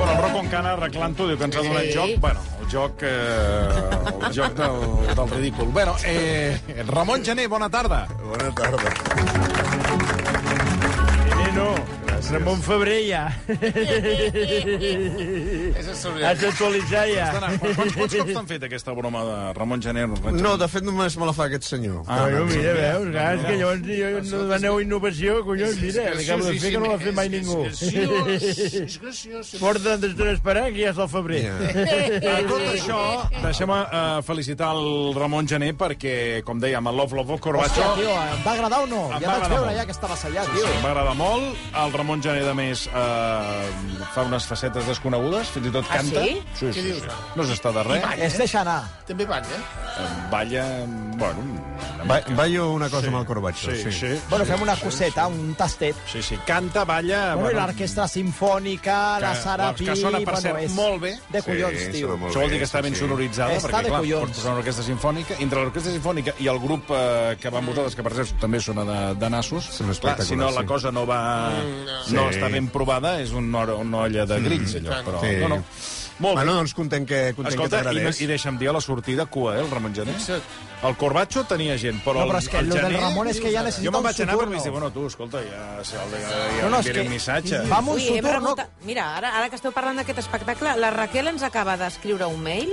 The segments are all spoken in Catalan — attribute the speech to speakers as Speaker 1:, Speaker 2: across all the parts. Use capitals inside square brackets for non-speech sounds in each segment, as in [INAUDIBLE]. Speaker 1: Bueno, el Rocco encara arreglant-ho, diu que ens ha donat
Speaker 2: Sí.
Speaker 1: joc. Bueno, el joc, eh,
Speaker 2: [LAUGHS]
Speaker 1: el joc del, del ridícul. Bueno, eh, Ramon Gené, bona tarda.
Speaker 3: Bona tarda.
Speaker 4: Eh, No, Ramon Febrer ja.
Speaker 1: És
Speaker 4: Has
Speaker 1: extraordinari.
Speaker 4: d'actualitzar ja.
Speaker 1: Quants, quants cops t'han fet aquesta broma de Ramon Gené?
Speaker 3: No, de fet, només me la fa aquest senyor.
Speaker 4: Ah,
Speaker 1: Eh,
Speaker 4: no, mira, veus, clar, és que llavors jo, no demaneu innovació, collons, mira, l'acabo de fer que no l'ha fet mai ningú.
Speaker 5: [LAUGHS]
Speaker 1: És graciós.
Speaker 4: Porta des d'una esperant que ja és el febrer.
Speaker 3: Ja.
Speaker 1: A eh, tot això, deixem eh, felicitar el Ramon Gené perquè, com dèiem, el Love Love Corbacho...
Speaker 6: Tio, em va agradar o no?
Speaker 1: Em
Speaker 6: ja vaig
Speaker 1: va agradar
Speaker 6: veure
Speaker 1: molt.
Speaker 6: ja que estava sellat,
Speaker 1: Sí,
Speaker 6: tio.
Speaker 1: sí, m'agrada molt. El Ramon Gené, de més, eh, fa unes facetes desconegudes, fins i tot canta.
Speaker 2: Ah, sí?
Speaker 1: Sí, sí, sí, sí. No s'està de res.
Speaker 6: Es deixa anar.
Speaker 2: També vaig, eh?
Speaker 1: Eh, Balla, bueno... una
Speaker 3: Va,
Speaker 1: mica.
Speaker 3: ballo una cosa amb el corbatxo.
Speaker 1: Sí, sí. sí.
Speaker 6: Bueno, fem una coseta, un tastet.
Speaker 1: Sí, sí, canta, balla...
Speaker 6: Bueno, i l'orquestra simfònica, la
Speaker 1: que-
Speaker 6: Sara Pi...
Speaker 1: que sona, per cert,
Speaker 6: és
Speaker 1: molt bé.
Speaker 6: De collons,
Speaker 3: Sí,
Speaker 6: tio.
Speaker 3: sona molt
Speaker 1: Això vol dir que està ben
Speaker 3: sí, sí.
Speaker 1: sonoritzada,
Speaker 6: Està
Speaker 1: perquè,
Speaker 6: de
Speaker 1: clar,
Speaker 6: collons.
Speaker 1: pots posar una orquestra sinfònica. Entre l'orquestra sinfònica i el grup eh, que van vosaltres, que per cert també sona de, de nassos,
Speaker 3: Són
Speaker 1: clar,
Speaker 3: espectaculars,
Speaker 1: si no la
Speaker 3: sí.
Speaker 1: cosa no va...
Speaker 6: Mm,
Speaker 1: No,
Speaker 3: Sí. Mm,
Speaker 1: està ben provada, és una, or- una olla de grills, allò. Però,
Speaker 3: Sí.
Speaker 1: no, no. Molt
Speaker 3: Bueno,
Speaker 1: bé.
Speaker 3: doncs content que, content
Speaker 1: Escolta,
Speaker 3: que
Speaker 1: i,
Speaker 3: t'agradés.
Speaker 1: i deixa'm dir a la sortida cua, eh, el Ramon Gené. El Corbacho tenia gent, però,
Speaker 6: No, però és que
Speaker 1: el,
Speaker 6: lo
Speaker 1: el
Speaker 6: del
Speaker 1: Gené...
Speaker 6: Ramon és que ja necessita
Speaker 1: Jo me'n
Speaker 6: un
Speaker 1: vaig anar per
Speaker 6: suturno.
Speaker 1: dir, bueno, tu, escolta, ja, ja, ja, ja,
Speaker 6: No, no, és
Speaker 1: enviaré
Speaker 6: que-
Speaker 1: un missatge.
Speaker 6: Va amb un
Speaker 2: Ui, he
Speaker 6: suturno...
Speaker 2: preguntat... Mira, ara, ara que esteu parlant d'aquest espectacle, la Raquel ens acaba d'escriure un mail.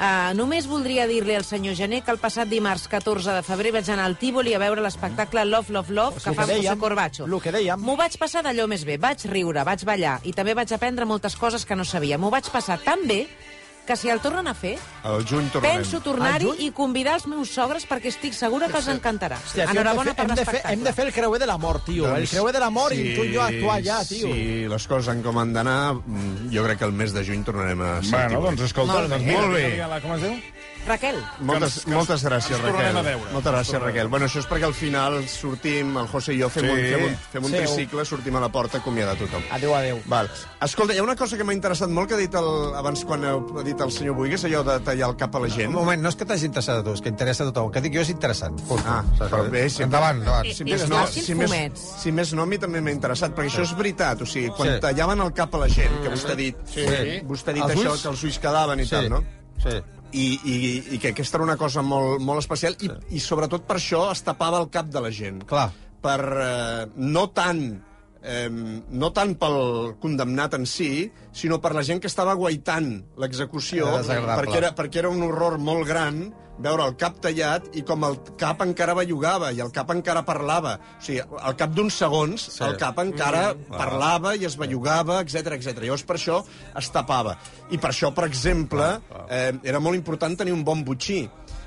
Speaker 2: Uh, només voldria dir-li al senyor Gené que el passat dimarts 14 de febrer vaig anar al Tívoli a veure l'espectacle Love, Love, Love que
Speaker 6: Lo
Speaker 2: fa
Speaker 6: que
Speaker 2: José
Speaker 6: dèiem,
Speaker 2: Corbacho.
Speaker 6: lo que dèiem.
Speaker 2: M'ho vaig passar d'allò més bé. Vaig riure, vaig ballar i també vaig aprendre moltes coses que no sabia. M'ho vaig passar tan bé que si el tornen a fer,
Speaker 3: Al juny tornem.
Speaker 2: penso tornar-hi
Speaker 6: Al Ah, juny?
Speaker 2: i convidar els meus sogres perquè estic segura que els encantarà.
Speaker 6: Hòstia, tio, hem, de
Speaker 2: Enhorabona
Speaker 6: fer,
Speaker 2: per
Speaker 6: hem, de fer, hem de
Speaker 2: l'espectacle.
Speaker 6: fer el creuer de l'amor, tio. el
Speaker 3: Doncs,
Speaker 6: creuer de l'amor i tu i jo actuar ja, tio.
Speaker 3: Si les coses han com han d'anar, mm, jo crec que el mes de juny tornarem a sentir.
Speaker 1: Bueno, doncs escolta,
Speaker 3: Molt bé.
Speaker 1: doncs mira,
Speaker 3: Molt bé.
Speaker 1: mira, mira, Com es diu?
Speaker 2: Raquel,
Speaker 3: Moltes,
Speaker 1: que ens-
Speaker 3: moltes gràcies,
Speaker 1: ens tornarem
Speaker 3: Raquel.
Speaker 1: a veure.
Speaker 3: Moltes
Speaker 1: Ens
Speaker 3: gràcies,
Speaker 1: tornarem.
Speaker 3: Raquel. Bueno, això és perquè al final sortim, el José i jo fem
Speaker 1: Sí.
Speaker 3: un, fem un, fem un
Speaker 6: Sí.
Speaker 3: tricicle, sortim a la porta a acomiadar tothom.
Speaker 6: Adéu, adéu.
Speaker 3: Val. Escolta, hi ha una cosa que m'ha interessat molt que ha dit el, abans quan ha dit el senyor Buigues, allò de tallar el cap a la gent.
Speaker 7: Un moment, no és que t'hagi interessat a tu, és que interessa a tothom. El que dic jo és interessant. Punt.
Speaker 3: Ah, però bé, sempre-
Speaker 7: Endavant, endavant.
Speaker 3: Si
Speaker 2: I
Speaker 3: més,
Speaker 2: els
Speaker 3: no,
Speaker 2: facin
Speaker 3: si, més,
Speaker 2: fumets.
Speaker 3: si més no, a mi també m'ha interessat, perquè això és veritat. O sigui, quan
Speaker 7: Sí. Mm.
Speaker 3: tallaven el cap a la gent, que vostè ha dit, vostè ha dit
Speaker 7: Els
Speaker 3: això,
Speaker 7: ulls?
Speaker 3: que els ulls quedaven i
Speaker 7: Sí.
Speaker 3: tal, no?
Speaker 7: Sí.
Speaker 3: I, i, I que aquesta era una cosa molt, molt especial, i, i sobretot per això es tapava el cap de la gent.
Speaker 7: Clar.
Speaker 3: Per, eh, no tant eh, no tant pel condemnat en si, sinó per la gent que estava guaitant l'execució,
Speaker 7: Era desagradable.
Speaker 3: perquè era, perquè era un horror molt gran veure el cap tallat i com el cap encara bellugava i el cap encara parlava. O sigui, al cap d'uns segons, sí. el cap encara mm. parlava i es bellugava, etc etc. Llavors, per això es tapava. I per això, per exemple, eh, era molt important tenir un bon butxí.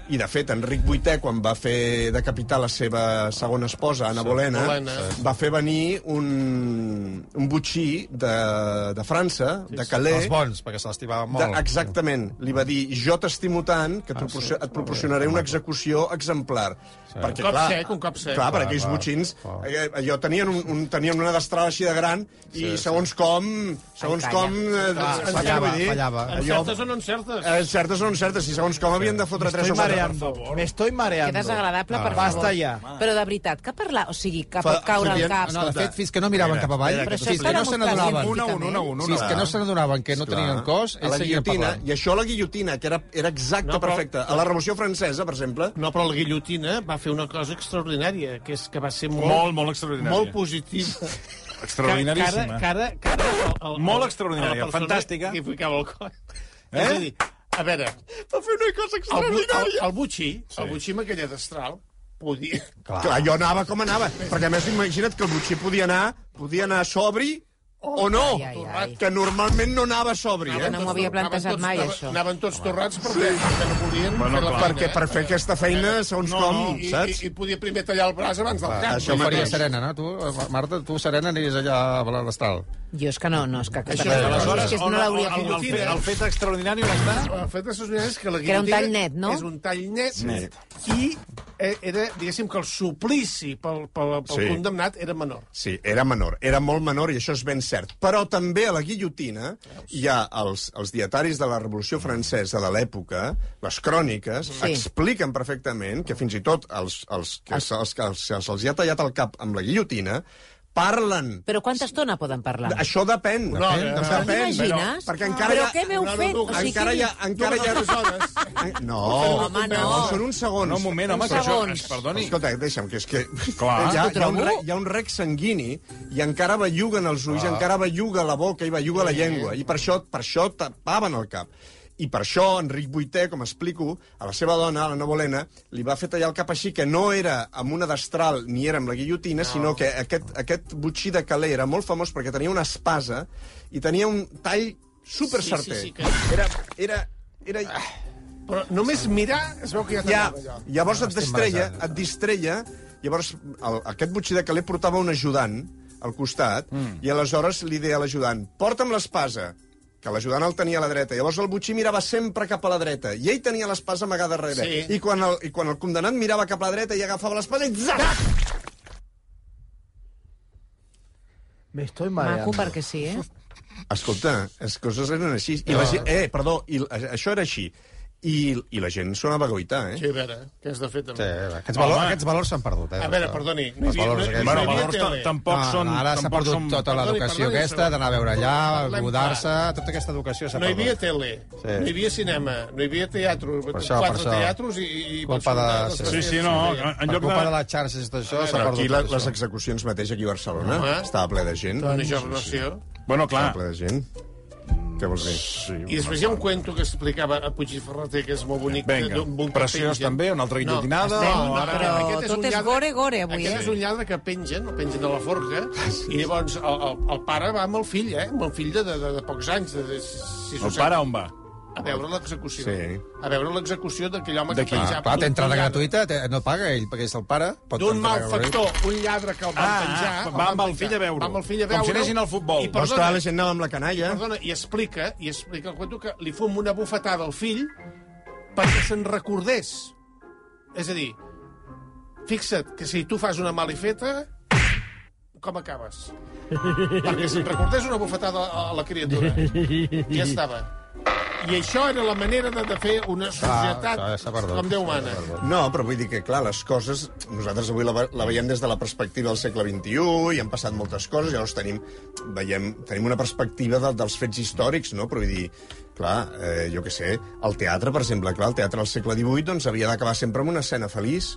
Speaker 3: I, de fet, Enric Vuitè, quan va fer decapitar la seva segona esposa, Anna Bolena,
Speaker 6: Bolena.
Speaker 3: va fer venir un, un butxí de, de França, de Calais,
Speaker 7: Els bons, perquè se l'estimaven
Speaker 3: de,
Speaker 7: molt. Ah,
Speaker 3: exactament. Li va dir, jo t'estimo tant que et, proporcio et proporcionaré una execució exemplar. Perquè,
Speaker 6: Un cop
Speaker 3: clar,
Speaker 6: sec, un cop sec.
Speaker 3: Clar, perquè aquells butxins, eh, allò, tenien, un, un, tenien una destral així de gran i segons com... Segons
Speaker 2: Encalla.
Speaker 3: com... Eh, saps què
Speaker 7: Ah, fallava,
Speaker 3: vull dir?
Speaker 7: fallava.
Speaker 3: Allò,
Speaker 5: o no encertes?
Speaker 3: eh, certes o no certes, i segons com havien de fotre tres
Speaker 6: Estoy
Speaker 3: o quatre.
Speaker 6: mareando. Me estoy mareando.
Speaker 2: que desagradable, per favor.
Speaker 6: Basta ja.
Speaker 2: Però de veritat, que parlar... O sigui, que
Speaker 3: Fa-
Speaker 2: pot caure
Speaker 3: Fabián,
Speaker 2: al cap...
Speaker 7: No, de fet, fins que no miraven cap avall,
Speaker 3: espera, que
Speaker 7: fins
Speaker 2: t'ho
Speaker 7: que no
Speaker 2: explico.
Speaker 7: se
Speaker 2: Una, una,
Speaker 7: n'adonaven
Speaker 2: una, una, una.
Speaker 7: fins que no se n'adonaven que no tenien cos,
Speaker 3: a la
Speaker 7: ells seguien
Speaker 3: guillotina,
Speaker 7: parlant.
Speaker 3: i això a la guillotina, que era, era exacte,
Speaker 5: No, però-
Speaker 3: perfecte. A la Revolució Francesa, per exemple,
Speaker 5: No, però el Guillotina va fer una cosa extraordinària, que és que va ser molt,
Speaker 1: Molt, molt extraordinària.
Speaker 5: molt
Speaker 4: [LAUGHS]
Speaker 5: positiva.
Speaker 1: Extraordinaríssima.
Speaker 5: Cara, cara, cara, el, el,
Speaker 1: Molt extraordinària,
Speaker 5: a la persona
Speaker 1: fantàstica.
Speaker 5: Que hi ficava el coll.
Speaker 1: Eh?
Speaker 5: Eh? És a dir, a veure... Va fer una cosa extraordinària. El, bu- el, el butxí, sí. el butxí amb aquella destral, podia...
Speaker 3: Clar. Clar, jo anava com anava. Perquè, a més, imagina't que el butxí podia anar, podia anar sobri o no,
Speaker 2: Oh, Ai, ai, ai.
Speaker 3: que normalment no anava sobri, eh?
Speaker 2: no m'ho havia plantejat mai, això.
Speaker 5: Anaven tots torrats perquè, perquè no podien
Speaker 1: Bueno,
Speaker 5: fer la
Speaker 1: clar.
Speaker 5: feina.
Speaker 3: Perquè per fer aquesta feina, segons
Speaker 5: no,
Speaker 3: com,
Speaker 5: no, i,
Speaker 3: saps?
Speaker 5: I, I podia primer tallar el braç abans del cap.
Speaker 3: això
Speaker 7: Això ho faria
Speaker 3: mateix.
Speaker 7: serena, no? Tu, Marta, tu serena aniries allà a l'estral.
Speaker 2: Jo és que no, no, és que...
Speaker 5: Això,
Speaker 2: Això,
Speaker 5: aleshores,
Speaker 2: és que
Speaker 5: on-
Speaker 2: no l'hauria
Speaker 5: on-
Speaker 2: fet.
Speaker 5: on-
Speaker 2: mai.
Speaker 5: fet- el
Speaker 1: fet extraordinari on està?
Speaker 5: El fet de sospirar és que la
Speaker 2: Que era un
Speaker 5: guillotina
Speaker 2: tall net, no?
Speaker 5: És un tall net,
Speaker 1: Net.
Speaker 5: i eh, era, diguéssim, que el suplici pel, pel, pel
Speaker 3: Sí.
Speaker 5: sí. condemnat era menor.
Speaker 3: Sí, era menor, era molt menor i això és ben cert. Però també a la guillotina hi ha els, els dietaris de la Revolució Francesa de l'època, les cròniques,
Speaker 2: Sí.
Speaker 3: sí. expliquen perfectament que fins i tot els, els que se'ls els, que se- se'ls hi ha tallat el cap amb la guillotina parlen.
Speaker 2: Però quanta estona poden parlar?
Speaker 3: Això depèn.
Speaker 5: Una hora.
Speaker 3: depèn,
Speaker 2: T'imagines?
Speaker 3: perquè encara
Speaker 2: Però
Speaker 3: hi ha-
Speaker 2: què m'heu
Speaker 5: no, no,
Speaker 2: fet?
Speaker 5: no,
Speaker 2: O sigui,
Speaker 3: encara hi ha... Encara hi ha...
Speaker 5: Dues hores.
Speaker 3: No,
Speaker 2: Home, no.
Speaker 3: són uns segons.
Speaker 1: No, un moment, home,
Speaker 2: Uns
Speaker 1: que això...
Speaker 2: segons.
Speaker 1: Es, perdoni.
Speaker 3: Escolta, deixa'm, que és que...
Speaker 1: Clar.
Speaker 3: hi, ha,
Speaker 2: Ho
Speaker 3: hi, ha un
Speaker 2: trobo.
Speaker 3: rec, hi ha un rec sanguini i encara belluguen els ulls, encara belluga la boca i belluga la llengua. I per això, per això tapaven el cap. I per això Enric Vuitè, com explico, a la seva dona, a la Nebolena, li va fer tallar el cap així que no era amb una destral ni era amb la guillotina, no. sinó que aquest, aquest butxí de Calais era molt famós perquè tenia una espasa i tenia un tall super certer.
Speaker 5: Sí, sí, sí, que-
Speaker 3: Era, era, era...
Speaker 5: Però només mirar es veu que ja
Speaker 3: Ja,
Speaker 5: t'anava allò.
Speaker 3: llavors et
Speaker 7: estem
Speaker 3: destreia,
Speaker 7: marejant.
Speaker 3: et distreia, llavors el, aquest butxí de Calais portava un ajudant al costat, mm. i aleshores li deia a l'ajudant, porta'm l'espasa, que l'ajudant el tenia a la dreta. Llavors el butxí mirava sempre cap a la dreta, i ell tenia l'espasa amagada darrere.
Speaker 5: Sí.
Speaker 3: I, quan el, I quan el condenat mirava cap a la dreta i agafava l'espasa, i zac!
Speaker 6: Me estoy
Speaker 2: Maco,
Speaker 6: mareando.
Speaker 2: perquè sí, eh?
Speaker 3: Escolta, les coses eren així. I la gent, eh, perdó, i, la- això era així. I, I la gent sonava goita, eh?
Speaker 5: Sí, a veure, què has de fer també.
Speaker 7: Sí, aquests, valors, aquests valors s'han perdut. Eh,
Speaker 5: A veure, perdoni, no hi
Speaker 7: Els
Speaker 5: havia-
Speaker 7: valors
Speaker 5: no-
Speaker 7: aquests.
Speaker 5: no
Speaker 1: Bueno,
Speaker 5: hi havia
Speaker 1: valors
Speaker 5: tele.
Speaker 1: ta- tampoc
Speaker 7: no,
Speaker 1: són...
Speaker 7: no, Ah, ara s'ha
Speaker 1: tampoc
Speaker 7: perdut
Speaker 1: són...
Speaker 7: tota
Speaker 5: Perdoni,
Speaker 7: l'educació
Speaker 5: perdoni,
Speaker 7: aquesta
Speaker 5: segon.
Speaker 7: d'anar a veure allà,
Speaker 5: Parlem
Speaker 7: mudar-se, tota aquesta educació s'ha
Speaker 5: No hi
Speaker 7: perdut.
Speaker 5: havia tele, sí. no hi havia cinema, no hi havia teatre,
Speaker 7: això,
Speaker 5: quatre
Speaker 7: per això.
Speaker 5: teatros i... i
Speaker 7: Culpa de-
Speaker 5: les
Speaker 7: sí.
Speaker 1: Sí,
Speaker 5: tres-
Speaker 1: sí, no, en
Speaker 7: Per
Speaker 1: lloc
Speaker 7: culpa de...
Speaker 1: de...
Speaker 7: les xarxes i tot això s'ha
Speaker 3: Però
Speaker 7: perdut
Speaker 3: aquí la,
Speaker 7: tot
Speaker 3: les
Speaker 7: això.
Speaker 3: execucions mateix aquí a Barcelona Doncs
Speaker 5: Home.
Speaker 3: estava ple de gent.
Speaker 5: Dona jornació.
Speaker 1: Bueno, clar,
Speaker 3: Estava ple de gent. Què vols dir?
Speaker 5: I després hi ha un cuento que explicava a Puig i Ferreter, que és molt bonic.
Speaker 1: Vinga,
Speaker 5: d'un bon que
Speaker 1: preciós
Speaker 5: pengen.
Speaker 1: també, una altra guillotinada,
Speaker 5: estem-
Speaker 1: o ara-
Speaker 5: però
Speaker 2: Però
Speaker 5: aquest un
Speaker 2: tot és
Speaker 5: lladre-
Speaker 2: gore-gore avui,
Speaker 5: Aquest
Speaker 2: eh?
Speaker 5: és un lladre que pengen, el pengen de la forca,
Speaker 1: Ah,
Speaker 5: i llavors el, el, el pare va amb el fill, eh? Amb el fill de, de, de, de pocs anys, de, de, si
Speaker 1: el pare on va?
Speaker 5: A veure l'execució.
Speaker 3: Sí.
Speaker 5: A veure l'execució d'aquell home que
Speaker 1: D'aquí.
Speaker 7: Ah,
Speaker 5: penjava...
Speaker 7: clar, té
Speaker 5: d'un
Speaker 7: entrada
Speaker 5: lladre-
Speaker 7: gratuïta, té, no paga ell, perquè és el pare. pot
Speaker 5: D'un
Speaker 7: entrar gratuïta.
Speaker 5: malfactor, un lladre que el van
Speaker 1: Ah,
Speaker 5: penjar...
Speaker 1: ah,
Speaker 5: el
Speaker 1: va
Speaker 5: van
Speaker 1: amb el
Speaker 5: penjar,
Speaker 1: fill a veure-ho.
Speaker 5: Va amb el fill a
Speaker 1: Com si
Speaker 5: veure-ho.
Speaker 1: anessin al futbol.
Speaker 5: I
Speaker 1: No,
Speaker 3: Però
Speaker 5: perdona,
Speaker 3: esclar, Ah, la gent anava amb la canalla.
Speaker 5: perdona, i explica, i explica el cuento que li fum una bufetada al fill perquè se'n recordés. És a dir, fixa't que si tu fas una malifeta, com acabes? perquè se'n recordés una bufetada a a la criatura. Ja estava. I això era la manera de, de fer una
Speaker 3: Ah,
Speaker 5: societat
Speaker 7: clar, s'ha perdut.
Speaker 5: com Déu mana.
Speaker 3: No, però vull dir que, clar, les coses... Nosaltres avui la, ve- la veiem des de la perspectiva del segle XXI i han passat moltes coses, llavors tenim, veiem, tenim una perspectiva de, dels fets històrics, no? Però vull dir, clar, eh, jo què sé, el teatre, per exemple, clar, el teatre del segle XVIII doncs, havia d'acabar sempre amb una escena feliç,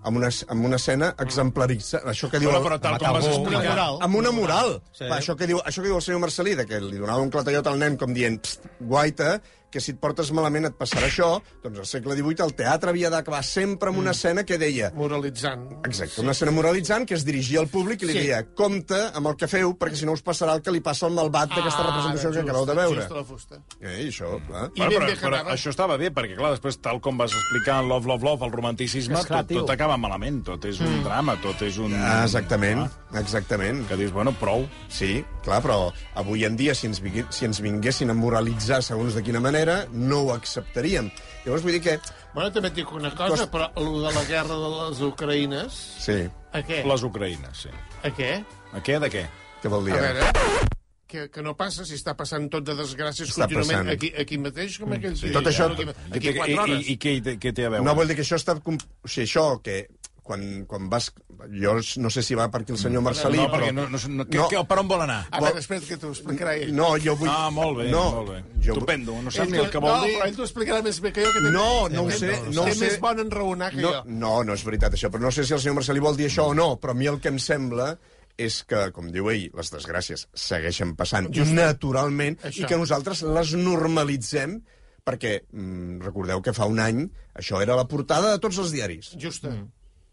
Speaker 3: amb una, amb una escena exemplaritzada. Això que diu...
Speaker 1: Però,
Speaker 3: el-
Speaker 1: però tal
Speaker 7: Matar
Speaker 1: com vas
Speaker 7: algú.
Speaker 1: explicar...
Speaker 3: amb una moral.
Speaker 7: Sí.
Speaker 3: Sí. Això, que diu, això que diu el senyor Marcelí, de que li donava un clatellot al nen com dient, "Pst, guaita, que si et portes malament et passarà això, doncs al segle XVIII el teatre havia d'acabar sempre amb
Speaker 5: Mm.
Speaker 3: una escena que deia...
Speaker 5: Moralitzant.
Speaker 3: Exacte, una escena moralitzant que es dirigia al públic i li
Speaker 5: Sí.
Speaker 3: deia compte amb el que feu perquè si no us passarà el que li passa al malvat d'aquesta representació que acabeu de veure.
Speaker 5: Ah, Just a la fusta.
Speaker 3: Eh, i això, clar.
Speaker 5: I
Speaker 1: Bueno,
Speaker 5: ben
Speaker 1: però,
Speaker 5: bé que
Speaker 1: però
Speaker 5: anava.
Speaker 1: això estava bé, perquè clar, després, tal com vas explicar en Love, Love, Love, el romanticisme,
Speaker 6: És clar,
Speaker 1: tot, tot
Speaker 6: tio.
Speaker 1: acaba malament, tot és un drama, tot és un...
Speaker 3: Ah, exactament, exactament.
Speaker 1: Que dius, bueno, prou.
Speaker 3: Sí, clar, però avui en dia, si ens, vingui, si ens vinguessin a moralitzar segons de quina manera, no ho acceptaríem. Llavors vull dir que...
Speaker 5: Bueno, també et dic una cosa,
Speaker 3: Costa-
Speaker 5: però el de la guerra de les Ucraïnes...
Speaker 3: Sí,
Speaker 5: A què?
Speaker 1: Les ucraïnes, sí.
Speaker 5: A què?
Speaker 1: A què, de què?
Speaker 3: què vol dir?
Speaker 5: A
Speaker 3: ara?
Speaker 5: veure... Que, que no passa si està passant tot de desgràcies
Speaker 3: Està
Speaker 5: contínuament
Speaker 3: passant.
Speaker 5: aquí, aquí mateix, com aquells
Speaker 3: sí,
Speaker 5: dies.
Speaker 3: tot això-
Speaker 5: Aquí,
Speaker 1: I,
Speaker 5: aquí
Speaker 1: i,
Speaker 5: quatre
Speaker 1: i,
Speaker 5: hores.
Speaker 1: i, què, hi té- què té a veure?
Speaker 3: No vol dir que això està... com- O sigui, això que quan, quan vas... Jo no sé si va per aquí el senyor Marcelí,
Speaker 1: Mm. no,
Speaker 3: però...
Speaker 1: perquè no, no, no, que,
Speaker 3: No.
Speaker 1: Que, per on vol anar?
Speaker 5: A veure, espera't que t'ho explicarà ell.
Speaker 3: No, jo vull...
Speaker 1: Ah, molt bé,
Speaker 3: no,
Speaker 1: molt bé.
Speaker 3: Jo... vull-
Speaker 1: Estupendo, no sap
Speaker 5: Ell
Speaker 1: ni el
Speaker 5: t'ho-
Speaker 1: que vol
Speaker 5: no,
Speaker 1: dir.
Speaker 5: però ell t'ho explicarà més bé que jo. Que té-
Speaker 3: No, no ho
Speaker 5: té-
Speaker 3: sé,
Speaker 5: té
Speaker 3: no ho sé.
Speaker 5: més bon enraonar que
Speaker 3: no,
Speaker 5: jo.
Speaker 3: no, no és veritat això, però no sé si el senyor Marcelí vol dir això o no, però a mi el que em sembla és que, com diu ell, les desgràcies segueixen passant Just naturalment
Speaker 5: Això.
Speaker 3: i que nosaltres les normalitzem perquè mm, recordeu que fa un any això era la portada de tots els diaris.
Speaker 5: Justa. Mm.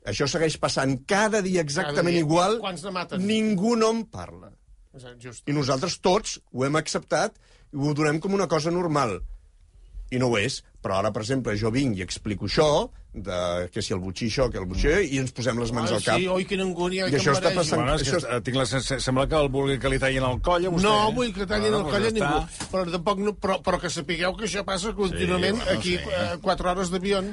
Speaker 3: Això segueix passant cada dia exactament
Speaker 5: dia.
Speaker 3: igual.
Speaker 5: Quants ne maten?
Speaker 3: Ningú no en parla.
Speaker 5: Justa.
Speaker 3: I nosaltres tots ho hem acceptat i ho donem com una cosa normal. i no ho és. Però ara, per exemple, jo vinc i explico això, de, que si el butxí això, que el butxí... I ens posem les mans
Speaker 5: Ai,
Speaker 3: al cap.
Speaker 5: Mm. Ah, sí, oh, oi, quina angúnia, oi,
Speaker 3: I
Speaker 5: que
Speaker 3: això
Speaker 5: em
Speaker 3: està
Speaker 5: marejo.
Speaker 3: passant...
Speaker 1: Bueno, és que
Speaker 3: això,
Speaker 1: eh, tinc la sensació... Sembla que el vulgui que li tallin el coll a vostè.
Speaker 3: eh?
Speaker 5: Ah, No vull que tallin
Speaker 1: Bueno,
Speaker 5: el
Speaker 1: doncs
Speaker 5: coll a
Speaker 1: ja
Speaker 5: ningú.
Speaker 1: està.
Speaker 5: Però, tampoc no, però, però que sapigueu que això passa contínuament
Speaker 1: bueno,
Speaker 5: aquí,
Speaker 1: sí.
Speaker 5: eh, 4 hores d'avió.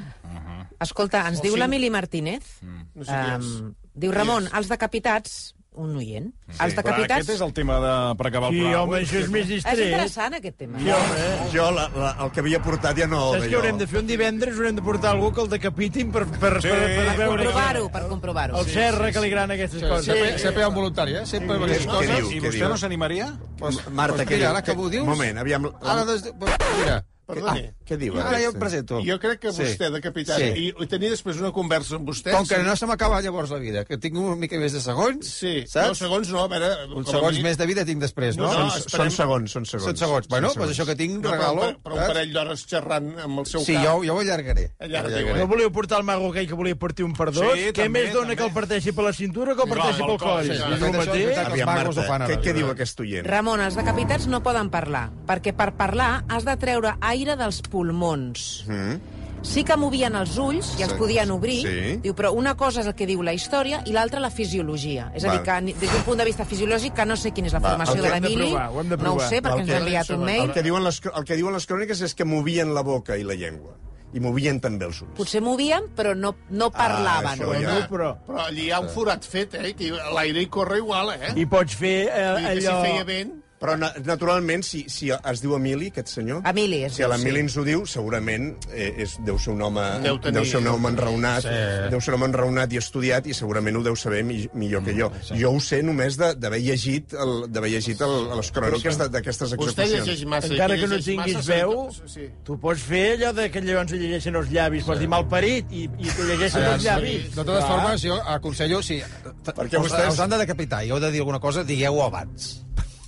Speaker 2: Escolta, ens diu
Speaker 5: cinc.
Speaker 2: l'Emili Martínez.
Speaker 5: No sé què és.
Speaker 2: Um, diu, Ramon, els decapitats... Un oient. Sí.
Speaker 1: Però
Speaker 2: Els decapitats...
Speaker 1: aquest és el tema de... per acabar el
Speaker 4: Sí,
Speaker 1: programa.
Speaker 4: home, això és més
Speaker 2: És
Speaker 4: distret.
Speaker 2: interessant, aquest tema.
Speaker 4: Sí, home.
Speaker 5: eh.
Speaker 3: jo la, la, el que havia portat ja no...
Speaker 4: Saps què
Speaker 3: d'allò.
Speaker 4: haurem de fer un divendres? Haurem de portar algú que el decapitin per, per,
Speaker 1: Sí.
Speaker 4: per, per,
Speaker 2: Per
Speaker 4: veure
Speaker 2: comprovar-ho, per comprovar-ho.
Speaker 4: el Serra que li agraden aquestes coses.
Speaker 7: Sempre, sempre hi ha un voluntari, eh? Sempre amb aquestes
Speaker 3: Què
Speaker 7: coses.
Speaker 3: diu?
Speaker 1: I
Speaker 3: Què
Speaker 1: vostè
Speaker 3: diu?
Speaker 1: no s'animaria?
Speaker 7: Pues,
Speaker 3: Marta,
Speaker 7: pues,
Speaker 3: què
Speaker 7: mira,
Speaker 3: diu?
Speaker 7: ara que
Speaker 3: Què-
Speaker 7: m'ho dius...
Speaker 3: moment, aviam, la-
Speaker 7: Ara, des... pues, mira,
Speaker 5: Perdoni.
Speaker 7: Ah,
Speaker 3: Què diu?
Speaker 7: Ara jo em presento.
Speaker 5: Jo crec que
Speaker 7: Sí.
Speaker 5: vostè, de capità,
Speaker 7: Sí.
Speaker 5: sí. i tenir després una conversa amb vostè...
Speaker 7: Com que no se m'acaba llavors la vida, que tinc una mica més de segons,
Speaker 5: Sí,
Speaker 7: saps?
Speaker 5: no, segons no, a veure... com
Speaker 7: Uns
Speaker 5: a
Speaker 7: segons
Speaker 5: mínim-
Speaker 7: més de vida tinc després, no?
Speaker 5: No,
Speaker 3: Són,
Speaker 5: no,
Speaker 7: Són-
Speaker 5: esperem-
Speaker 3: són segons, són segons.
Speaker 7: Són segons. Bueno,
Speaker 3: Són
Speaker 7: doncs això que tinc,
Speaker 5: No, però,
Speaker 7: regalo.
Speaker 5: però, però un
Speaker 7: saps?
Speaker 5: parell d'hores xerrant amb el seu
Speaker 7: Sí,
Speaker 5: cap...
Speaker 7: jo, jo ho allargaré.
Speaker 5: Allarga-t'hi,
Speaker 7: Allargaré.
Speaker 4: No volíeu portar el mago aquell que volia partir un per dos?
Speaker 1: Sí,
Speaker 4: Què
Speaker 1: també,
Speaker 4: més dona
Speaker 1: també.
Speaker 4: que el parteixi per la cintura o que el
Speaker 1: Clar,
Speaker 4: parteixi pel
Speaker 1: pel coll,
Speaker 4: coll?
Speaker 1: sí, sí.
Speaker 7: De fet,
Speaker 4: És el
Speaker 7: això és
Speaker 4: mateix?
Speaker 7: veritat que els
Speaker 3: Aviam,
Speaker 7: magos ho
Speaker 3: Marta,
Speaker 7: fan ara.
Speaker 3: què, què diu aquest oient?
Speaker 2: Ramon, els decapitats no poden parlar, perquè per parlar has de treure aire dels pulmons.
Speaker 3: Mm?
Speaker 2: Sí que movien els ulls i els
Speaker 3: Sí.
Speaker 2: podien obrir,
Speaker 3: Sí.
Speaker 2: diu, però una cosa és el que diu la història i l'altra la fisiologia. És a
Speaker 3: Val.
Speaker 2: dir, que ni- des d'un punt de vista fisiològic que no sé quina és la
Speaker 3: Val.
Speaker 2: formació
Speaker 3: El
Speaker 2: de
Speaker 3: que hem
Speaker 4: de
Speaker 2: l'Emili,
Speaker 4: provar, ho hem de
Speaker 2: no ho
Speaker 4: provar.
Speaker 2: sé perquè
Speaker 5: El
Speaker 2: ens
Speaker 5: que-
Speaker 2: ha enviat un
Speaker 3: El
Speaker 2: mail.
Speaker 3: que, diuen les, el que diuen les cròniques és que movien la boca i la llengua. I movien també els ulls.
Speaker 2: Potser movien, però no, no parlaven.
Speaker 3: Ah, això ja.
Speaker 4: No, però...
Speaker 5: Però allí hi ha un forat fet, eh? Que l'aire hi corre igual, eh?
Speaker 4: I pots fer eh,
Speaker 5: I que si
Speaker 4: allò...
Speaker 5: feia vent...
Speaker 3: Però, na naturalment, si, si es diu Emili, aquest senyor...
Speaker 2: Emili, es
Speaker 3: Si
Speaker 2: diu,
Speaker 3: l'Emili
Speaker 2: sí.
Speaker 3: ens ho diu, segurament eh, és, deu ser un home,
Speaker 5: Deu tenir-
Speaker 3: deu ser un home enraonat, sí. deu ser un home enraonat i estudiat, i segurament ho deu saber mi millor que jo. Sí. Jo ho sé només de- d'haver llegit, el- d'haver llegit el, les cròniques de- d'aquestes
Speaker 5: Vostè
Speaker 3: execucions.
Speaker 5: llegeix massa. i
Speaker 4: Encara
Speaker 5: qui
Speaker 4: que no
Speaker 5: llegeix
Speaker 4: tinguis
Speaker 5: massa,
Speaker 4: veu,
Speaker 5: Ah, Sí.
Speaker 4: tu pots fer allò de que llavors li llegeixen els llavis, pots dir malparit i, i t'ho llegeixen
Speaker 5: Ah,
Speaker 4: els llavis.
Speaker 7: De totes
Speaker 4: Clar.
Speaker 7: formes, jo aconsello, si
Speaker 3: Perquè
Speaker 7: us,
Speaker 3: vostès-
Speaker 7: us han de decapitar i heu de dir alguna cosa, digueu-ho abans.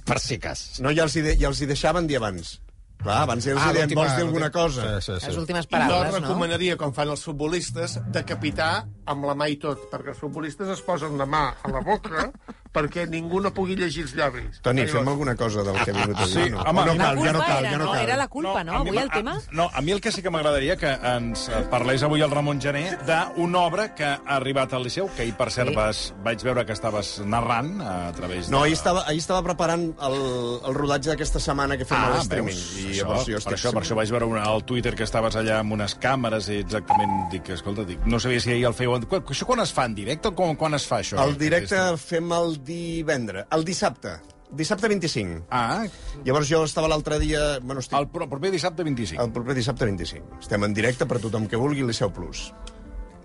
Speaker 7: Per si cas.
Speaker 3: No, ja els, hi de, ja els hi deixaven dir abans. Clar, abans ja els ah, hi deien,
Speaker 7: l'última-
Speaker 3: vols dir alguna cosa?
Speaker 7: Sí, sí,
Speaker 2: Les
Speaker 7: sí.
Speaker 2: últimes
Speaker 5: Paraules,
Speaker 2: paraules,
Speaker 5: jo
Speaker 2: no?
Speaker 5: recomanaria, com fan els futbolistes, decapitar amb la mà i tot, perquè els futbolistes es posen la mà a la boca perquè ningú no pugui llegir els llavis.
Speaker 3: Toni, fem alguna cosa del que ha vingut a dir.
Speaker 1: Ah,
Speaker 2: Ah,
Speaker 1: Sí,
Speaker 3: no,
Speaker 1: home,
Speaker 3: Ah, no
Speaker 1: la
Speaker 3: cal, ja no
Speaker 2: culpa
Speaker 3: cal,
Speaker 2: era,
Speaker 3: ja no
Speaker 2: no?
Speaker 3: cal.
Speaker 2: Era la culpa, no?
Speaker 1: a mi
Speaker 2: Avui el
Speaker 1: m'a-
Speaker 2: tema?
Speaker 1: A, no, a mi el que sí que m'agradaria que ens eh, parlés avui el Ramon Gené d'una obra que ha arribat al Liceu, que ahir, per cert,
Speaker 2: Sí.
Speaker 1: vas, vaig veure que estaves narrant a través de...
Speaker 3: No, ahir estava, ahir estava preparant el, el rodatge d'aquesta setmana que fem ah,
Speaker 1: Ah,
Speaker 3: el streaming.
Speaker 1: veus,
Speaker 3: I
Speaker 1: això,
Speaker 3: llavors jo
Speaker 1: per,
Speaker 3: estic...
Speaker 1: això, per això vaig veure una, al Twitter que estaves allà amb unes càmeres i exactament dic, escolta, dic, no sabia si ahir el feu... en- Quan- Això quan es fa, en directe o quan, quan es fa, això? eh,
Speaker 3: El directe el fem el divendres, el dissabte, dissabte 25.
Speaker 1: Ah,
Speaker 3: Llavors jo estava l'altre dia... Bueno, estic...
Speaker 1: el, pro- proper dissabte 25.
Speaker 3: el proper dissabte 25. Estem en directe per tothom que vulgui, Liceu Plus.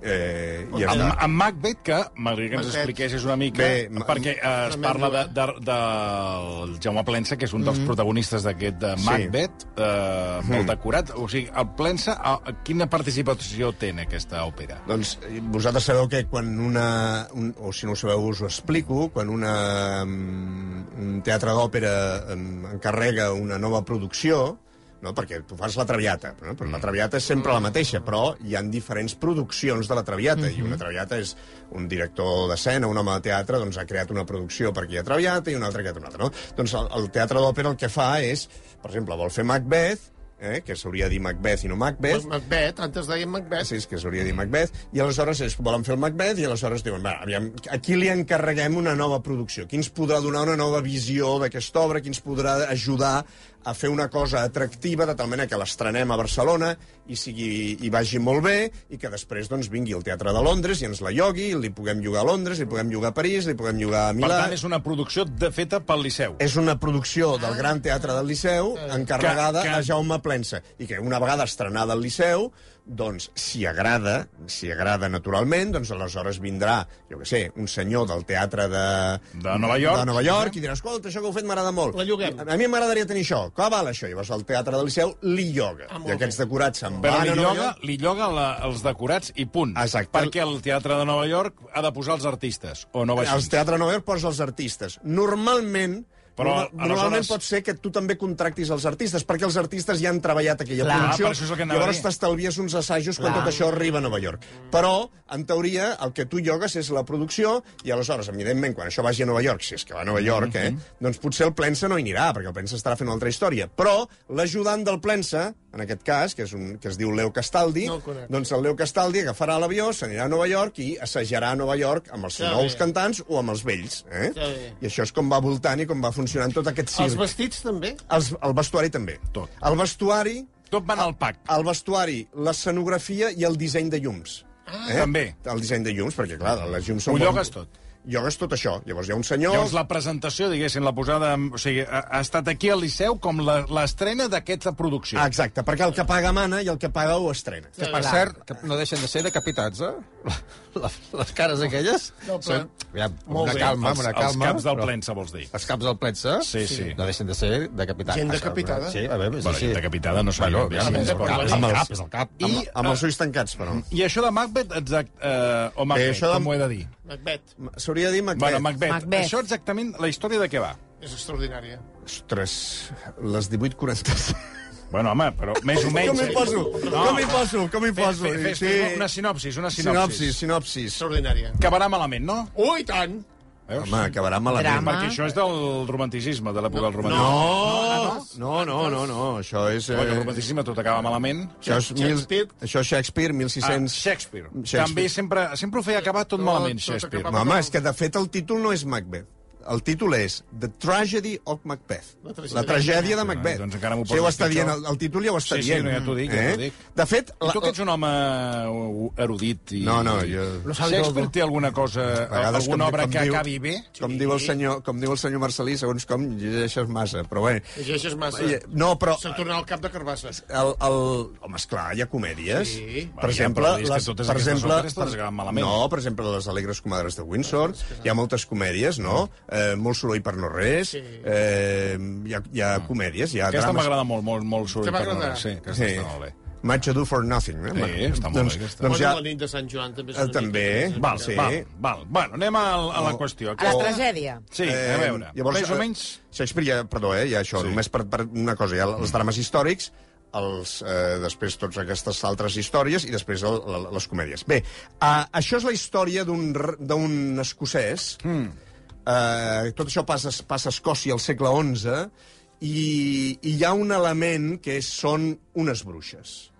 Speaker 3: Eh, i ja
Speaker 1: Amb,
Speaker 3: està.
Speaker 1: amb Macbeth, que m'agradaria que ens
Speaker 5: Macbeth.
Speaker 1: expliquessis una mica,
Speaker 3: Bé, ma-
Speaker 1: perquè eh, es parla de, de, del Jaume Plensa, que és un dels
Speaker 5: Mm-hmm.
Speaker 1: protagonistes d'aquest de
Speaker 3: Sí.
Speaker 1: Macbeth, eh, molt decorat. O sigui, el Plensa, a, quina participació té en aquesta òpera?
Speaker 3: Doncs eh, vosaltres sabeu que quan una... Un, o si no ho sabeu us ho explico, quan una, mm, un teatre d'òpera em, encarrega una nova producció, no? perquè tu fas la traviata, no? però la traviata és sempre la mateixa, però hi han diferents produccions de la traviata, i una traviata és un director d'escena, un home de teatre, doncs ha creat una producció per aquí a traviata i una altra que ha creat una altra. No? Doncs el, el teatre d'òpera el que fa és, per exemple, vol fer Macbeth, eh? que s'hauria de dir Macbeth i no Macbeth,
Speaker 5: Doncs Macbeth, antes deien Macbeth.
Speaker 3: sí, és que s'hauria de dir Macbeth, i aleshores es volen fer el Macbeth i aleshores diuen, va, aviam, a qui li encarreguem una nova producció? Qui ens podrà donar una nova visió d'aquesta obra? Qui ens podrà ajudar a fer una cosa atractiva de tal manera que l'estrenem a Barcelona i, sigui, i vagi molt bé i que després doncs, vingui al Teatre de Londres i ens la llogui, i li puguem llogar a Londres, li puguem llogar a París, li puguem llogar a
Speaker 1: Per
Speaker 3: Milà...
Speaker 1: tant, és una producció de feta pel Liceu.
Speaker 3: És una producció
Speaker 5: Ah.
Speaker 3: del Gran Teatre del Liceu encarregada
Speaker 1: Que-
Speaker 3: que,
Speaker 1: que-
Speaker 3: que... a Jaume Plensa i que una vegada estrenada al Liceu doncs, si agrada, si agrada naturalment, doncs aleshores vindrà, jo que sé, un senyor del teatre de...
Speaker 1: De Nova York.
Speaker 3: De Nova York, i dirà, escolta, això que heu fet m'agrada molt.
Speaker 5: La lloguem.
Speaker 3: A mi m'agradaria tenir això. Com val això? Llavors el teatre del Liceu li lloga.
Speaker 5: Ah, molt
Speaker 3: I aquests
Speaker 5: bé.
Speaker 3: decorats se'n
Speaker 1: Però
Speaker 3: van
Speaker 1: li
Speaker 3: a Nova
Speaker 1: lloga,
Speaker 3: York.
Speaker 1: li lloga la, els decorats i punt.
Speaker 3: Exacte.
Speaker 1: Perquè el Teatre de Nova York ha de posar els artistes, o no va
Speaker 3: Eh, Els
Speaker 1: així.
Speaker 3: teatre de Nova York posa els artistes. Normalment,
Speaker 1: Però,
Speaker 3: però,
Speaker 1: aleshores-
Speaker 3: normalment pot ser que tu també contractis els artistes, perquè els artistes ja han treballat aquella
Speaker 1: Clar,
Speaker 3: producció,
Speaker 1: per això és el que anava a
Speaker 3: llavors
Speaker 1: dir.
Speaker 3: t'estalvies uns assajos quan tot això arriba a Nova York. Però, en teoria, el que tu llogues és la producció, i aleshores, evidentment, quan això vagi a Nova York, si és que va a Nova York,
Speaker 1: Mhm.
Speaker 3: eh, doncs potser el Plensa no hi anirà, perquè el Plensa estarà fent una altra història. Però l'ajudant del Plensa en aquest cas, que, és un, que es diu Leo Castaldi,
Speaker 5: No el conec.
Speaker 3: doncs el Leo Castaldi agafarà l'avió, s'anirà a Nova York i assajarà a Nova York amb els
Speaker 5: Està
Speaker 3: nous
Speaker 5: bé.
Speaker 3: cantants o amb els vells. Eh?
Speaker 5: Està bé.
Speaker 3: I això és com va voltant i com va funcionant tot aquest
Speaker 5: Els
Speaker 3: circ.
Speaker 5: vestits, també?
Speaker 3: Els, el vestuari també.
Speaker 1: Tot.
Speaker 3: El vestuari
Speaker 1: Tot va anar al pack.
Speaker 3: el vestuari, l'escenografia i el disseny de llums. Ah,
Speaker 1: també.
Speaker 3: El disseny de llums, perquè, clar, les llums són...
Speaker 1: Ho llogues tot.
Speaker 3: Llogues tot això. Llavors hi ha un senyor...
Speaker 1: Llavors, la presentació, diguéssim, la posada... en- O sigui, ha, ha estat aquí al Liceu com la- l'estrena d'aquesta producció.
Speaker 3: Ah, Exacte, perquè el que paga mana i el que paga ho estrena.
Speaker 7: Que, per cert, que no deixen de ser decapitats, eh? [LAUGHS] Les, les cares aquelles...
Speaker 5: No, però-
Speaker 7: són... Aviam, amb
Speaker 5: Molt
Speaker 7: una
Speaker 5: bé.
Speaker 7: calma,
Speaker 1: els,
Speaker 7: amb una calma.
Speaker 1: els caps del plensa, vols dir.
Speaker 7: Els caps del pletxe
Speaker 1: Sí, sí.
Speaker 7: no deixen de ser decapitats.
Speaker 5: Gent decapitada.
Speaker 7: Sí, a veure, sí,
Speaker 1: Bueno,
Speaker 7: sí.
Speaker 1: gent decapitada no seria, òbviament,
Speaker 7: és el
Speaker 1: però-
Speaker 7: cap,
Speaker 1: Amb
Speaker 7: amb el
Speaker 1: els-
Speaker 7: cap, és el cap.
Speaker 3: I,
Speaker 7: I...
Speaker 3: amb, amb els ulls tancats, però.
Speaker 1: I això de Macbeth, exacte... Eh, o Macbeth,
Speaker 3: això de-
Speaker 1: com ho he de dir?
Speaker 5: Macbeth.
Speaker 3: S'hauria de dir Macbeth.
Speaker 1: Bueno, Macbeth.
Speaker 2: Macbeth.
Speaker 1: Això exactament, la història de què va?
Speaker 5: És extraordinària.
Speaker 3: Ostres,
Speaker 1: [LAUGHS]
Speaker 3: les 18.40.
Speaker 1: Bueno, home, però més o menys...
Speaker 3: Com hi
Speaker 1: eh?
Speaker 3: poso?
Speaker 1: No.
Speaker 3: Com hi poso? Com hi poso?
Speaker 1: Fes, fes, fes,
Speaker 3: Sí.
Speaker 1: una sinopsis, una
Speaker 3: Sinopsis,
Speaker 1: sinopsis.
Speaker 3: sinopsis.
Speaker 5: Extraordinària.
Speaker 1: Acabarà malament, no?
Speaker 5: Oh, i tant!
Speaker 1: Veus?
Speaker 3: Home, acabarà malament.
Speaker 2: Drama.
Speaker 1: Perquè això és del romanticisme, de l'època del
Speaker 3: No,
Speaker 1: romanticisme.
Speaker 3: no, no, no, no, això és...
Speaker 1: No. El
Speaker 3: Eh,
Speaker 1: romanticisme tot acaba malament.
Speaker 3: això és mil,
Speaker 5: Shakespeare.
Speaker 3: això és Shakespeare,
Speaker 1: Ah,
Speaker 3: 1600...
Speaker 1: Shakespeare.
Speaker 3: Shakespeare.
Speaker 1: També sempre, sempre ho feia acabar tot
Speaker 5: No,
Speaker 1: malament,
Speaker 5: tot
Speaker 1: Shakespeare.
Speaker 5: acaba-
Speaker 3: No, home, és que de fet el títol no és Macbeth. El títol és The Tragedy of Macbeth.
Speaker 5: La tragèdia.
Speaker 3: La tragèdia de
Speaker 1: Ah,
Speaker 3: Macbeth.
Speaker 1: doncs encara m'ho
Speaker 3: sí, ho
Speaker 1: poses
Speaker 3: està
Speaker 1: pitjor.
Speaker 3: dient, el, el títol ja ho està
Speaker 1: Sí, sí,
Speaker 3: dient. Eh?
Speaker 1: no, ja t'ho dic, ja t'ho dic.
Speaker 3: De fet...
Speaker 1: I tu que ets un home eh, erudit i...
Speaker 3: No, no, jo...
Speaker 6: Lo sabe
Speaker 1: Shakespeare
Speaker 6: todo.
Speaker 1: té alguna cosa,
Speaker 3: vegades,
Speaker 1: alguna
Speaker 3: com-
Speaker 1: obra
Speaker 3: com
Speaker 1: que
Speaker 3: diu-
Speaker 1: acabi bé?
Speaker 3: Com diu, el senyor, com diu el senyor Marcelí, segons com llegeixes massa. Però bé...
Speaker 5: Llegeixes massa.
Speaker 3: No, però...
Speaker 5: Se'n torna al cap de carbassa.
Speaker 3: El, el... Home, esclar, hi ha comèdies.
Speaker 5: Sí.
Speaker 1: Bueno, ja,
Speaker 3: Per exemple...
Speaker 1: però és que totes aquestes òperes totes acaben malament. Ah,
Speaker 3: No, per exemple, les Alegres Comadres de Windsor. Hi ha moltes comèdies, no? Eh, molt soroll per no res.
Speaker 5: Sí.
Speaker 3: Eh, hi, ha, hi ha comèdies, hi ha
Speaker 1: Aquesta
Speaker 3: drames.
Speaker 1: m'agrada Ah. molt, molt, molt soroll.
Speaker 5: Te va
Speaker 1: per no
Speaker 5: agradar?
Speaker 1: res. Sí, aquesta està molt bé.
Speaker 3: Macho do for nothing. Eh?
Speaker 1: Sí, està molt
Speaker 3: doncs,
Speaker 1: bé, aquesta.
Speaker 3: Doncs
Speaker 5: Bueno,
Speaker 3: ja...
Speaker 5: la nit de Sant Joan també és
Speaker 3: Eh,
Speaker 5: una
Speaker 3: també.
Speaker 5: mica...
Speaker 1: Val,
Speaker 3: Sí.
Speaker 1: val, val. Bueno, anem a, a la qüestió.
Speaker 2: A la tragèdia.
Speaker 1: Sí, a veure.
Speaker 3: llavors,
Speaker 1: Més o
Speaker 3: eh,
Speaker 1: menys...
Speaker 3: Shakespeare, ja, perdó, eh, ja això,
Speaker 1: Sí.
Speaker 3: sí. només per, per una cosa, hi ha els drames històrics, els, eh, després totes aquestes altres històries i després el, la- les comèdies. Bé, eh, això és la història d'un r- d'un escocès.
Speaker 1: Hmm.
Speaker 3: Mm. Eh, tot això passa, passa a Escòcia al segle XI i, i hi ha un element que són unes bruixes.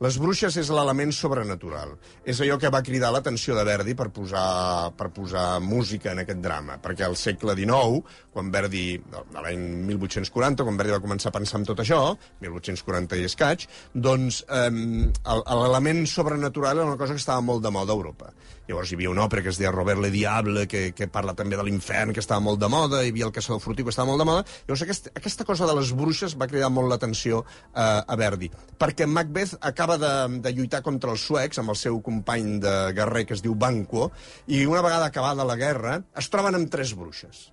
Speaker 3: Les bruixes és l'element sobrenatural. És allò que va cridar l'atenció de Verdi per posar, per posar música en aquest drama. Perquè al segle XIX, quan Verdi, a l'any 1840, quan Verdi va començar a pensar en tot això, 1840 i escaig, doncs eh, l'element sobrenatural era una cosa que estava molt de moda a Europa. Llavors hi havia una òpera que es deia Robert le Diable, que, que parla també de l'infern, que estava molt de moda, hi havia el caçador furtiu, que estava molt de moda. Llavors aquest, aquesta cosa de les bruixes va cridar molt l'atenció eh, a Verdi, perquè Macbeth acaba de, de lluitar contra els suecs amb el seu company de guerrer que es diu Banquo, i una vegada acabada la guerra es troben amb tres bruixes.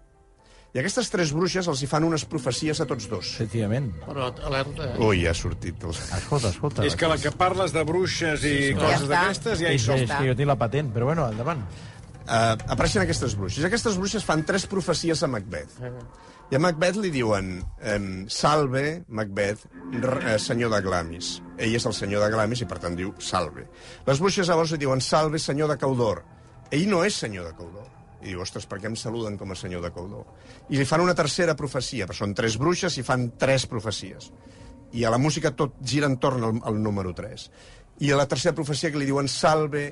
Speaker 3: I aquestes tres bruixes els hi fan unes profecies a tots dos.
Speaker 6: Efectivament.
Speaker 5: Però alerta, eh?
Speaker 3: Ui, ha sortit el...
Speaker 6: Escolta, escolta.
Speaker 1: És que la que parles de bruixes i coses
Speaker 2: està.
Speaker 1: d'aquestes ja hi
Speaker 6: és,
Speaker 1: som.
Speaker 6: és que jo tinc la patent, però bueno, endavant.
Speaker 3: eh, apareixen aquestes bruixes. Aquestes bruixes fan tres profecies a Macbeth. I a Macbeth li diuen eh, salve, Macbeth, r- eh, senyor de Glamis. Ell és el senyor de Glamis i, per tant, diu salve. Les bruixes llavors li diuen salve, senyor de Caudor. Ell no és senyor de Caudor. I diu, ostres, per què em saluden com a senyor de Caudor? I li fan una tercera profecia, però són tres bruixes i fan tres profecies. I a la música tot gira entorn al, al número 3. I a la tercera profecia que li diuen salve,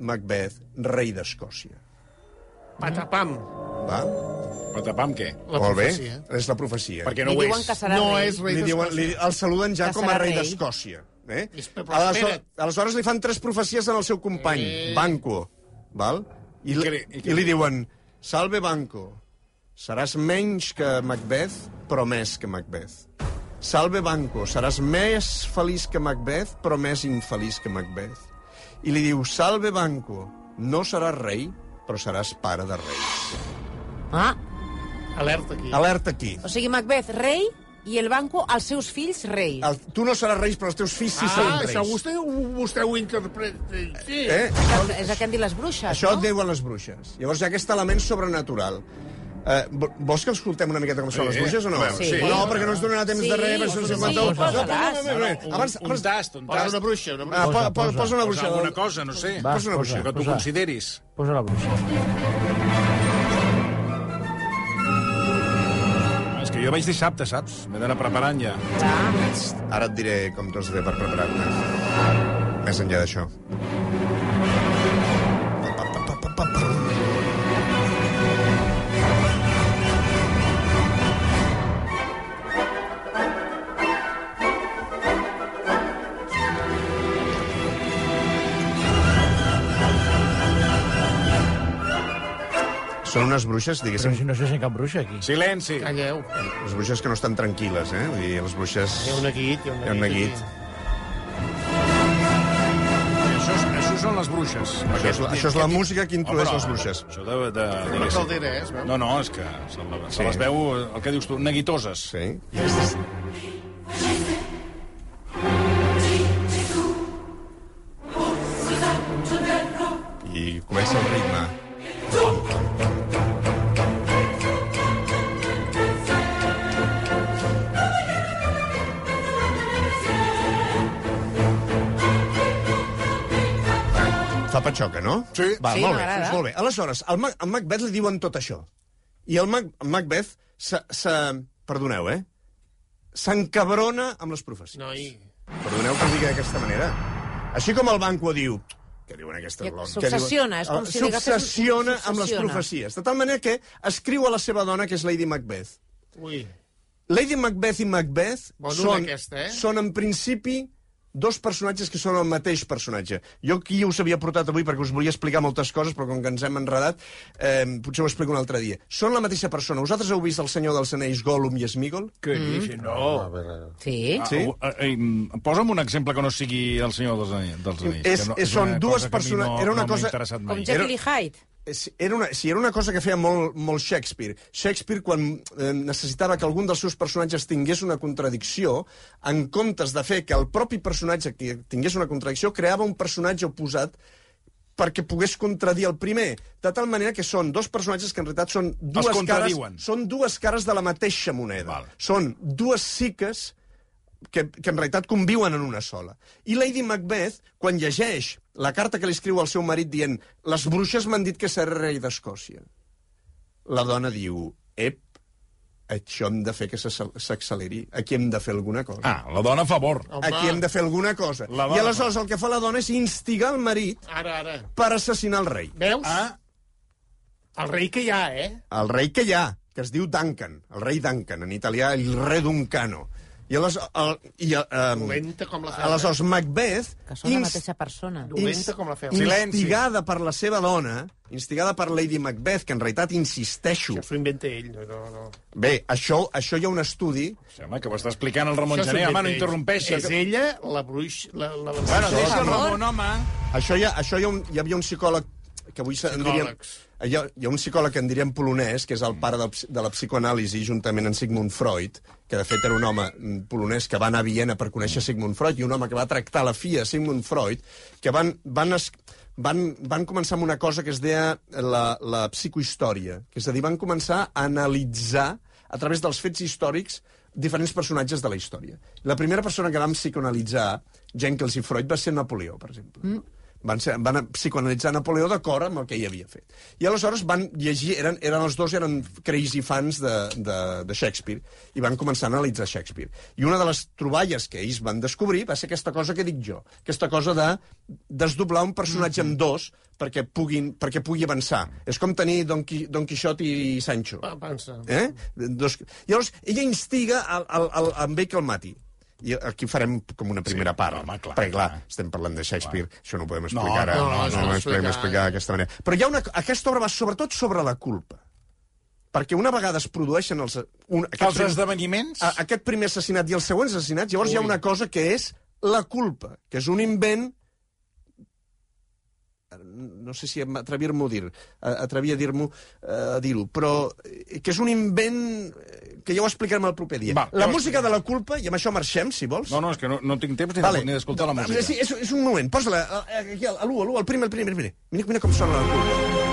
Speaker 3: Macbeth, rei d'Escòcia. Oh.
Speaker 5: Patapam.
Speaker 3: Va?
Speaker 1: Patapam, què?
Speaker 5: La
Speaker 3: Molt bé.
Speaker 5: profecia.
Speaker 3: És la profecia.
Speaker 1: Perquè
Speaker 2: Li
Speaker 1: no ho
Speaker 2: diuen
Speaker 1: és.
Speaker 2: que serà
Speaker 5: No
Speaker 2: rei.
Speaker 5: és rei
Speaker 3: Li diuen, li, el saluden ja
Speaker 2: Que
Speaker 3: com a
Speaker 2: serà
Speaker 3: rei
Speaker 2: rei.
Speaker 3: d'Escòcia. Eh?
Speaker 5: Però
Speaker 3: Aleshores,
Speaker 5: espera't.
Speaker 3: aleshores li fan tres profecies al seu company,
Speaker 5: Eh.
Speaker 3: Banco. Val? I,
Speaker 1: I què
Speaker 3: li,
Speaker 1: li- i
Speaker 3: I,
Speaker 1: què
Speaker 3: li
Speaker 1: li-
Speaker 3: diuen, salve Banco, seràs menys que Macbeth, però més que Macbeth. Salve Banco, seràs més feliç que Macbeth, però més infeliç que Macbeth. I li diu, salve Banco, no seràs rei, però seràs pare de reis.
Speaker 2: Ah,
Speaker 5: Alerta aquí.
Speaker 3: Alerta aquí.
Speaker 2: o sigui, Macbeth, rei, i el banco, els seus fills, rei.
Speaker 3: El, tu no seràs reis, però els teus fills sí seran
Speaker 5: Ah,
Speaker 3: reis.
Speaker 5: això vostè, ho- vostè ho interpreta. Sí.
Speaker 3: Eh?
Speaker 2: Això, és el que han dit les bruixes,
Speaker 3: Això et
Speaker 2: no?
Speaker 3: deuen les bruixes. Llavors hi ha aquest element sobrenatural. Eh, vo- vols que escoltem una miqueta com són les bruixes o no?
Speaker 1: Sí. Sí.
Speaker 3: No, perquè no ens donarà temps
Speaker 2: Sí,
Speaker 3: de res, perquè
Speaker 2: sí,
Speaker 3: són
Speaker 2: sí,
Speaker 3: 51.
Speaker 2: sí, posa-les.
Speaker 3: No, no, no, no, no.
Speaker 1: Un-
Speaker 3: Abans,
Speaker 1: un
Speaker 3: abans...
Speaker 1: tast, un
Speaker 5: Posa
Speaker 1: tast.
Speaker 5: una bruixa, una
Speaker 3: Ah,
Speaker 5: bruixa.
Speaker 6: Posa,
Speaker 3: po- po- posa una
Speaker 1: Posar
Speaker 3: bruixa.
Speaker 1: alguna cosa, no sé.
Speaker 6: Va,
Speaker 3: Posa una bruixa,
Speaker 1: Que tu
Speaker 6: posa.
Speaker 1: consideris.
Speaker 6: Posa la bruixa.
Speaker 1: És que jo jo vaig dissabte, saps? M'he d'anar preparant ja.
Speaker 3: Ara et diré com t'ho has de fer per preparar-te. Més enllà d'això. Pa, pa, pa, pa, pa, pa, pa. Són unes bruixes,
Speaker 6: Però
Speaker 3: diguéssim,
Speaker 6: si no sé si cap bruixa, aquí.
Speaker 1: Silenci!
Speaker 5: Calleu.
Speaker 3: les bruixes que no estan tranquil·les, eh? Vull dir, les bruixes...
Speaker 5: Hi ha un neguit, hi ha un neguit.
Speaker 3: Hi ha un neguit.
Speaker 1: Això, és- això són les bruixes.
Speaker 3: Això és, la- això és la música que introdueix les bruixes.
Speaker 1: Això de... de, de
Speaker 5: Una caldera, eh, es veu.
Speaker 1: No, no, és que se, la, se les veu, el que dius tu, neguitoses.
Speaker 3: Sí. I comença el ritme. Fa patxoca, no?
Speaker 1: Sí.
Speaker 3: Va,
Speaker 2: Sí,
Speaker 3: molt bé.
Speaker 2: m'agrada.
Speaker 3: Molt bé. Aleshores, al, Mac al Macbeth li diuen tot això. I el Mac Macbeth se, se... Perdoneu, eh? S'encabrona amb les profecies.
Speaker 5: Noi,
Speaker 3: Perdoneu que ho digui d'aquesta manera. Així com el banco diu... Que diuen aquestes
Speaker 2: Ja,
Speaker 3: lones.
Speaker 2: s'obsessiona, és com si li agafés un-
Speaker 3: S'obsessiona amb les
Speaker 2: s'obsessiona.
Speaker 3: profecies. De tal manera que escriu a la seva dona, que és Lady Macbeth.
Speaker 5: ui,
Speaker 3: Lady Macbeth i Macbeth
Speaker 5: Bona
Speaker 3: són,
Speaker 5: aquesta, eh?
Speaker 3: són, en principi, dos personatges que són el mateix personatge. Jo aquí us havia portat avui perquè us volia explicar moltes coses, però com que ens hem enredat, eh, potser ho explico un altre dia. Són la mateixa persona. Vosaltres heu vist El senyor dels anells, Gollum i Smigol?
Speaker 4: Que mm.
Speaker 6: Ah,
Speaker 4: no.
Speaker 2: Sí.
Speaker 3: Mm-hmm. Sí.
Speaker 1: Ah, ah, eh, posa'm un exemple que no sigui el senyor dels, Ane- dels Anells.
Speaker 3: És-
Speaker 1: que no,
Speaker 3: és- són
Speaker 1: una
Speaker 3: dues
Speaker 1: cosa que a mi
Speaker 3: persona-
Speaker 1: No,
Speaker 3: era una
Speaker 1: no m'ha
Speaker 3: cosa-
Speaker 1: interessat mai.
Speaker 2: Com Jekyll i Hyde.
Speaker 3: Si era, una, si era una cosa que feia molt, molt Shakespeare. Shakespeare, quan eh, necessitava que algun dels seus personatges tingués una contradicció, en comptes de fer que el propi personatge que tingués una contradicció, creava un personatge oposat perquè pogués contradir el primer. De tal manera que són dos personatges que en realitat són dues cares,
Speaker 1: contradiuen.
Speaker 3: són dues cares de la mateixa moneda.
Speaker 1: Val.
Speaker 3: Són dues siques que, que en realitat conviuen en una sola. I Lady Macbeth, quan llegeix la carta que li escriu al seu marit dient les bruixes m'han dit que seré rei d'Escòcia, la dona diu, ep, això hem de fer que se- s'acceleri, aquí hem de fer alguna cosa.
Speaker 1: Ah, la dona a favor.
Speaker 5: home,
Speaker 3: Aquí hem de fer alguna cosa.
Speaker 1: La dona.
Speaker 3: I aleshores el que fa la dona és instigar el marit
Speaker 5: ara, ara.
Speaker 3: per assassinar el rei.
Speaker 5: Veus?
Speaker 1: Ah,
Speaker 5: El rei que hi ha, eh?
Speaker 3: El rei que hi ha, que es diu Duncan, el rei Duncan, en italià el re Duncano. I aleshores, el, i, um,
Speaker 5: Dolenta com la ferra.
Speaker 3: aleshores Macbeth...
Speaker 2: Que són la
Speaker 3: inst-
Speaker 2: mateixa persona.
Speaker 5: Dolenta com la ferra.
Speaker 3: Instigada per la seva dona, instigada per Lady Macbeth, que en realitat insisteixo...
Speaker 5: Això s'ho inventa ell. No, no, no.
Speaker 3: Bé, això, això hi ha un estudi...
Speaker 1: Sembla que ho està explicant el Ramon
Speaker 5: Això s'ho
Speaker 1: Gené. Home, no
Speaker 5: inventa ell.
Speaker 1: interrompeixi.
Speaker 5: És ella, la bruixa... La, la, la
Speaker 1: Bueno, deixa el
Speaker 2: favor.
Speaker 1: Ramon, home.
Speaker 3: Això hi, ha, això hi, ha un, hi havia un psicòleg que avui se- en diríem...
Speaker 5: Psicòlegs.
Speaker 3: Hi ha, hi ha un psicòleg que en diríem polonès, que és el pare del, ps- de la psicoanàlisi, juntament amb Sigmund Freud, que de fet era un home mm, polonès que va anar a Viena per conèixer Sigmund Freud, i un home que va tractar la filla de Sigmund Freud, que van, van, es, van, van començar amb una cosa que es deia la, la psicohistòria, que és a dir, van començar a analitzar a través dels fets històrics diferents personatges de la història. La primera persona que vam psicoanalitzar, Jenkins i Freud, va ser Napoleó, per exemple. Mm. Van, ser, van psicoanalitzar Napoleó d'acord amb el que ell havia fet. I aleshores van llegir, eren, eren els dos eren crazy fans de, de, de Shakespeare, i van començar a analitzar Shakespeare. I una de les troballes que ells van descobrir va ser aquesta cosa que dic jo, aquesta cosa de desdoblar un personatge en dos perquè, puguin, perquè pugui avançar. És com tenir Don, Qui, Don Quixot i Sancho.
Speaker 5: Pensa.
Speaker 3: Eh? Dos... Llavors, ella instiga el, el, el, amb ell que el mati. I aquí farem com una primera
Speaker 1: Sí,
Speaker 3: part.
Speaker 1: home, clar,
Speaker 3: perquè, clar,
Speaker 1: clar.
Speaker 3: estem parlant de Shakespeare, això no ho podem explicar ara.
Speaker 5: no, no, es pot
Speaker 3: ho podem
Speaker 5: explicar.
Speaker 3: explicar d'aquesta manera. Però hi ha una... aquesta obra va sobretot sobre la culpa. Perquè una vegada es produeixen els... Un... aquest
Speaker 1: Els
Speaker 3: prim-
Speaker 1: esdeveniments...
Speaker 3: a, aquest primer assassinat i els següents assassinats, llavors hi ha una cosa que és la culpa, que és un invent eh, no sé si em- atrevir-m'ho a dir, a- atrevir a dir-m'ho eh, a dir-ho, però eh, que és un invent eh, que ja ho explicarem el proper dia.
Speaker 1: Va,
Speaker 3: la
Speaker 1: llavors-
Speaker 3: música de la culpa, i amb això marxem, si vols.
Speaker 1: No, no, és que no, no tinc temps ni
Speaker 3: Vale. Ah,
Speaker 1: de- ni d'escoltar la música.
Speaker 3: Sí, és, és un moment, posa-la eh, aquí, a l'1, a l'1, al primer, al primer, al primer. Mira, mira com sona la culpa.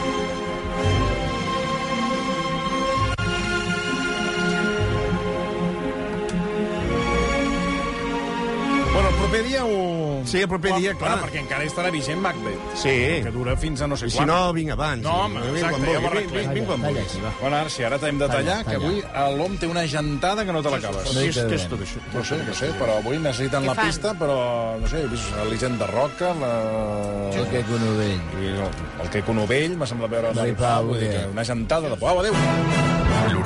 Speaker 1: Bueno, el proper dia o...?
Speaker 3: Sí, el proper
Speaker 1: O-
Speaker 3: dia, clar.
Speaker 1: Perquè encara estarà vigent Macbeth.
Speaker 3: Sí.
Speaker 1: Que dura fins a no sé
Speaker 3: I si
Speaker 1: quan.
Speaker 3: no, vinc abans.
Speaker 1: No, home,
Speaker 3: Vinc
Speaker 1: exacte,
Speaker 3: quan
Speaker 1: ja ho
Speaker 3: vulgui.
Speaker 1: arreglem.
Speaker 3: Vinc- vinc quan
Speaker 6: Calla,
Speaker 3: vulgui.
Speaker 6: calla, va.
Speaker 1: Bona, Arxi, ara t'hem de tallar, que avui l'OM té una gentada que no te l'acabes.
Speaker 6: Sí, sí,
Speaker 1: és tot això? No sé, no sé, però avui necessiten
Speaker 2: Què
Speaker 1: la
Speaker 2: fan?
Speaker 1: pista, però, no sé, he vist l'Elisenda Roca, la...
Speaker 6: El que conovell.
Speaker 1: I el, el Queco Novell, m'ha semblat veure...
Speaker 6: Noi Pau,
Speaker 1: vull dir que
Speaker 6: eh.
Speaker 1: una gentada de... Au, adéu!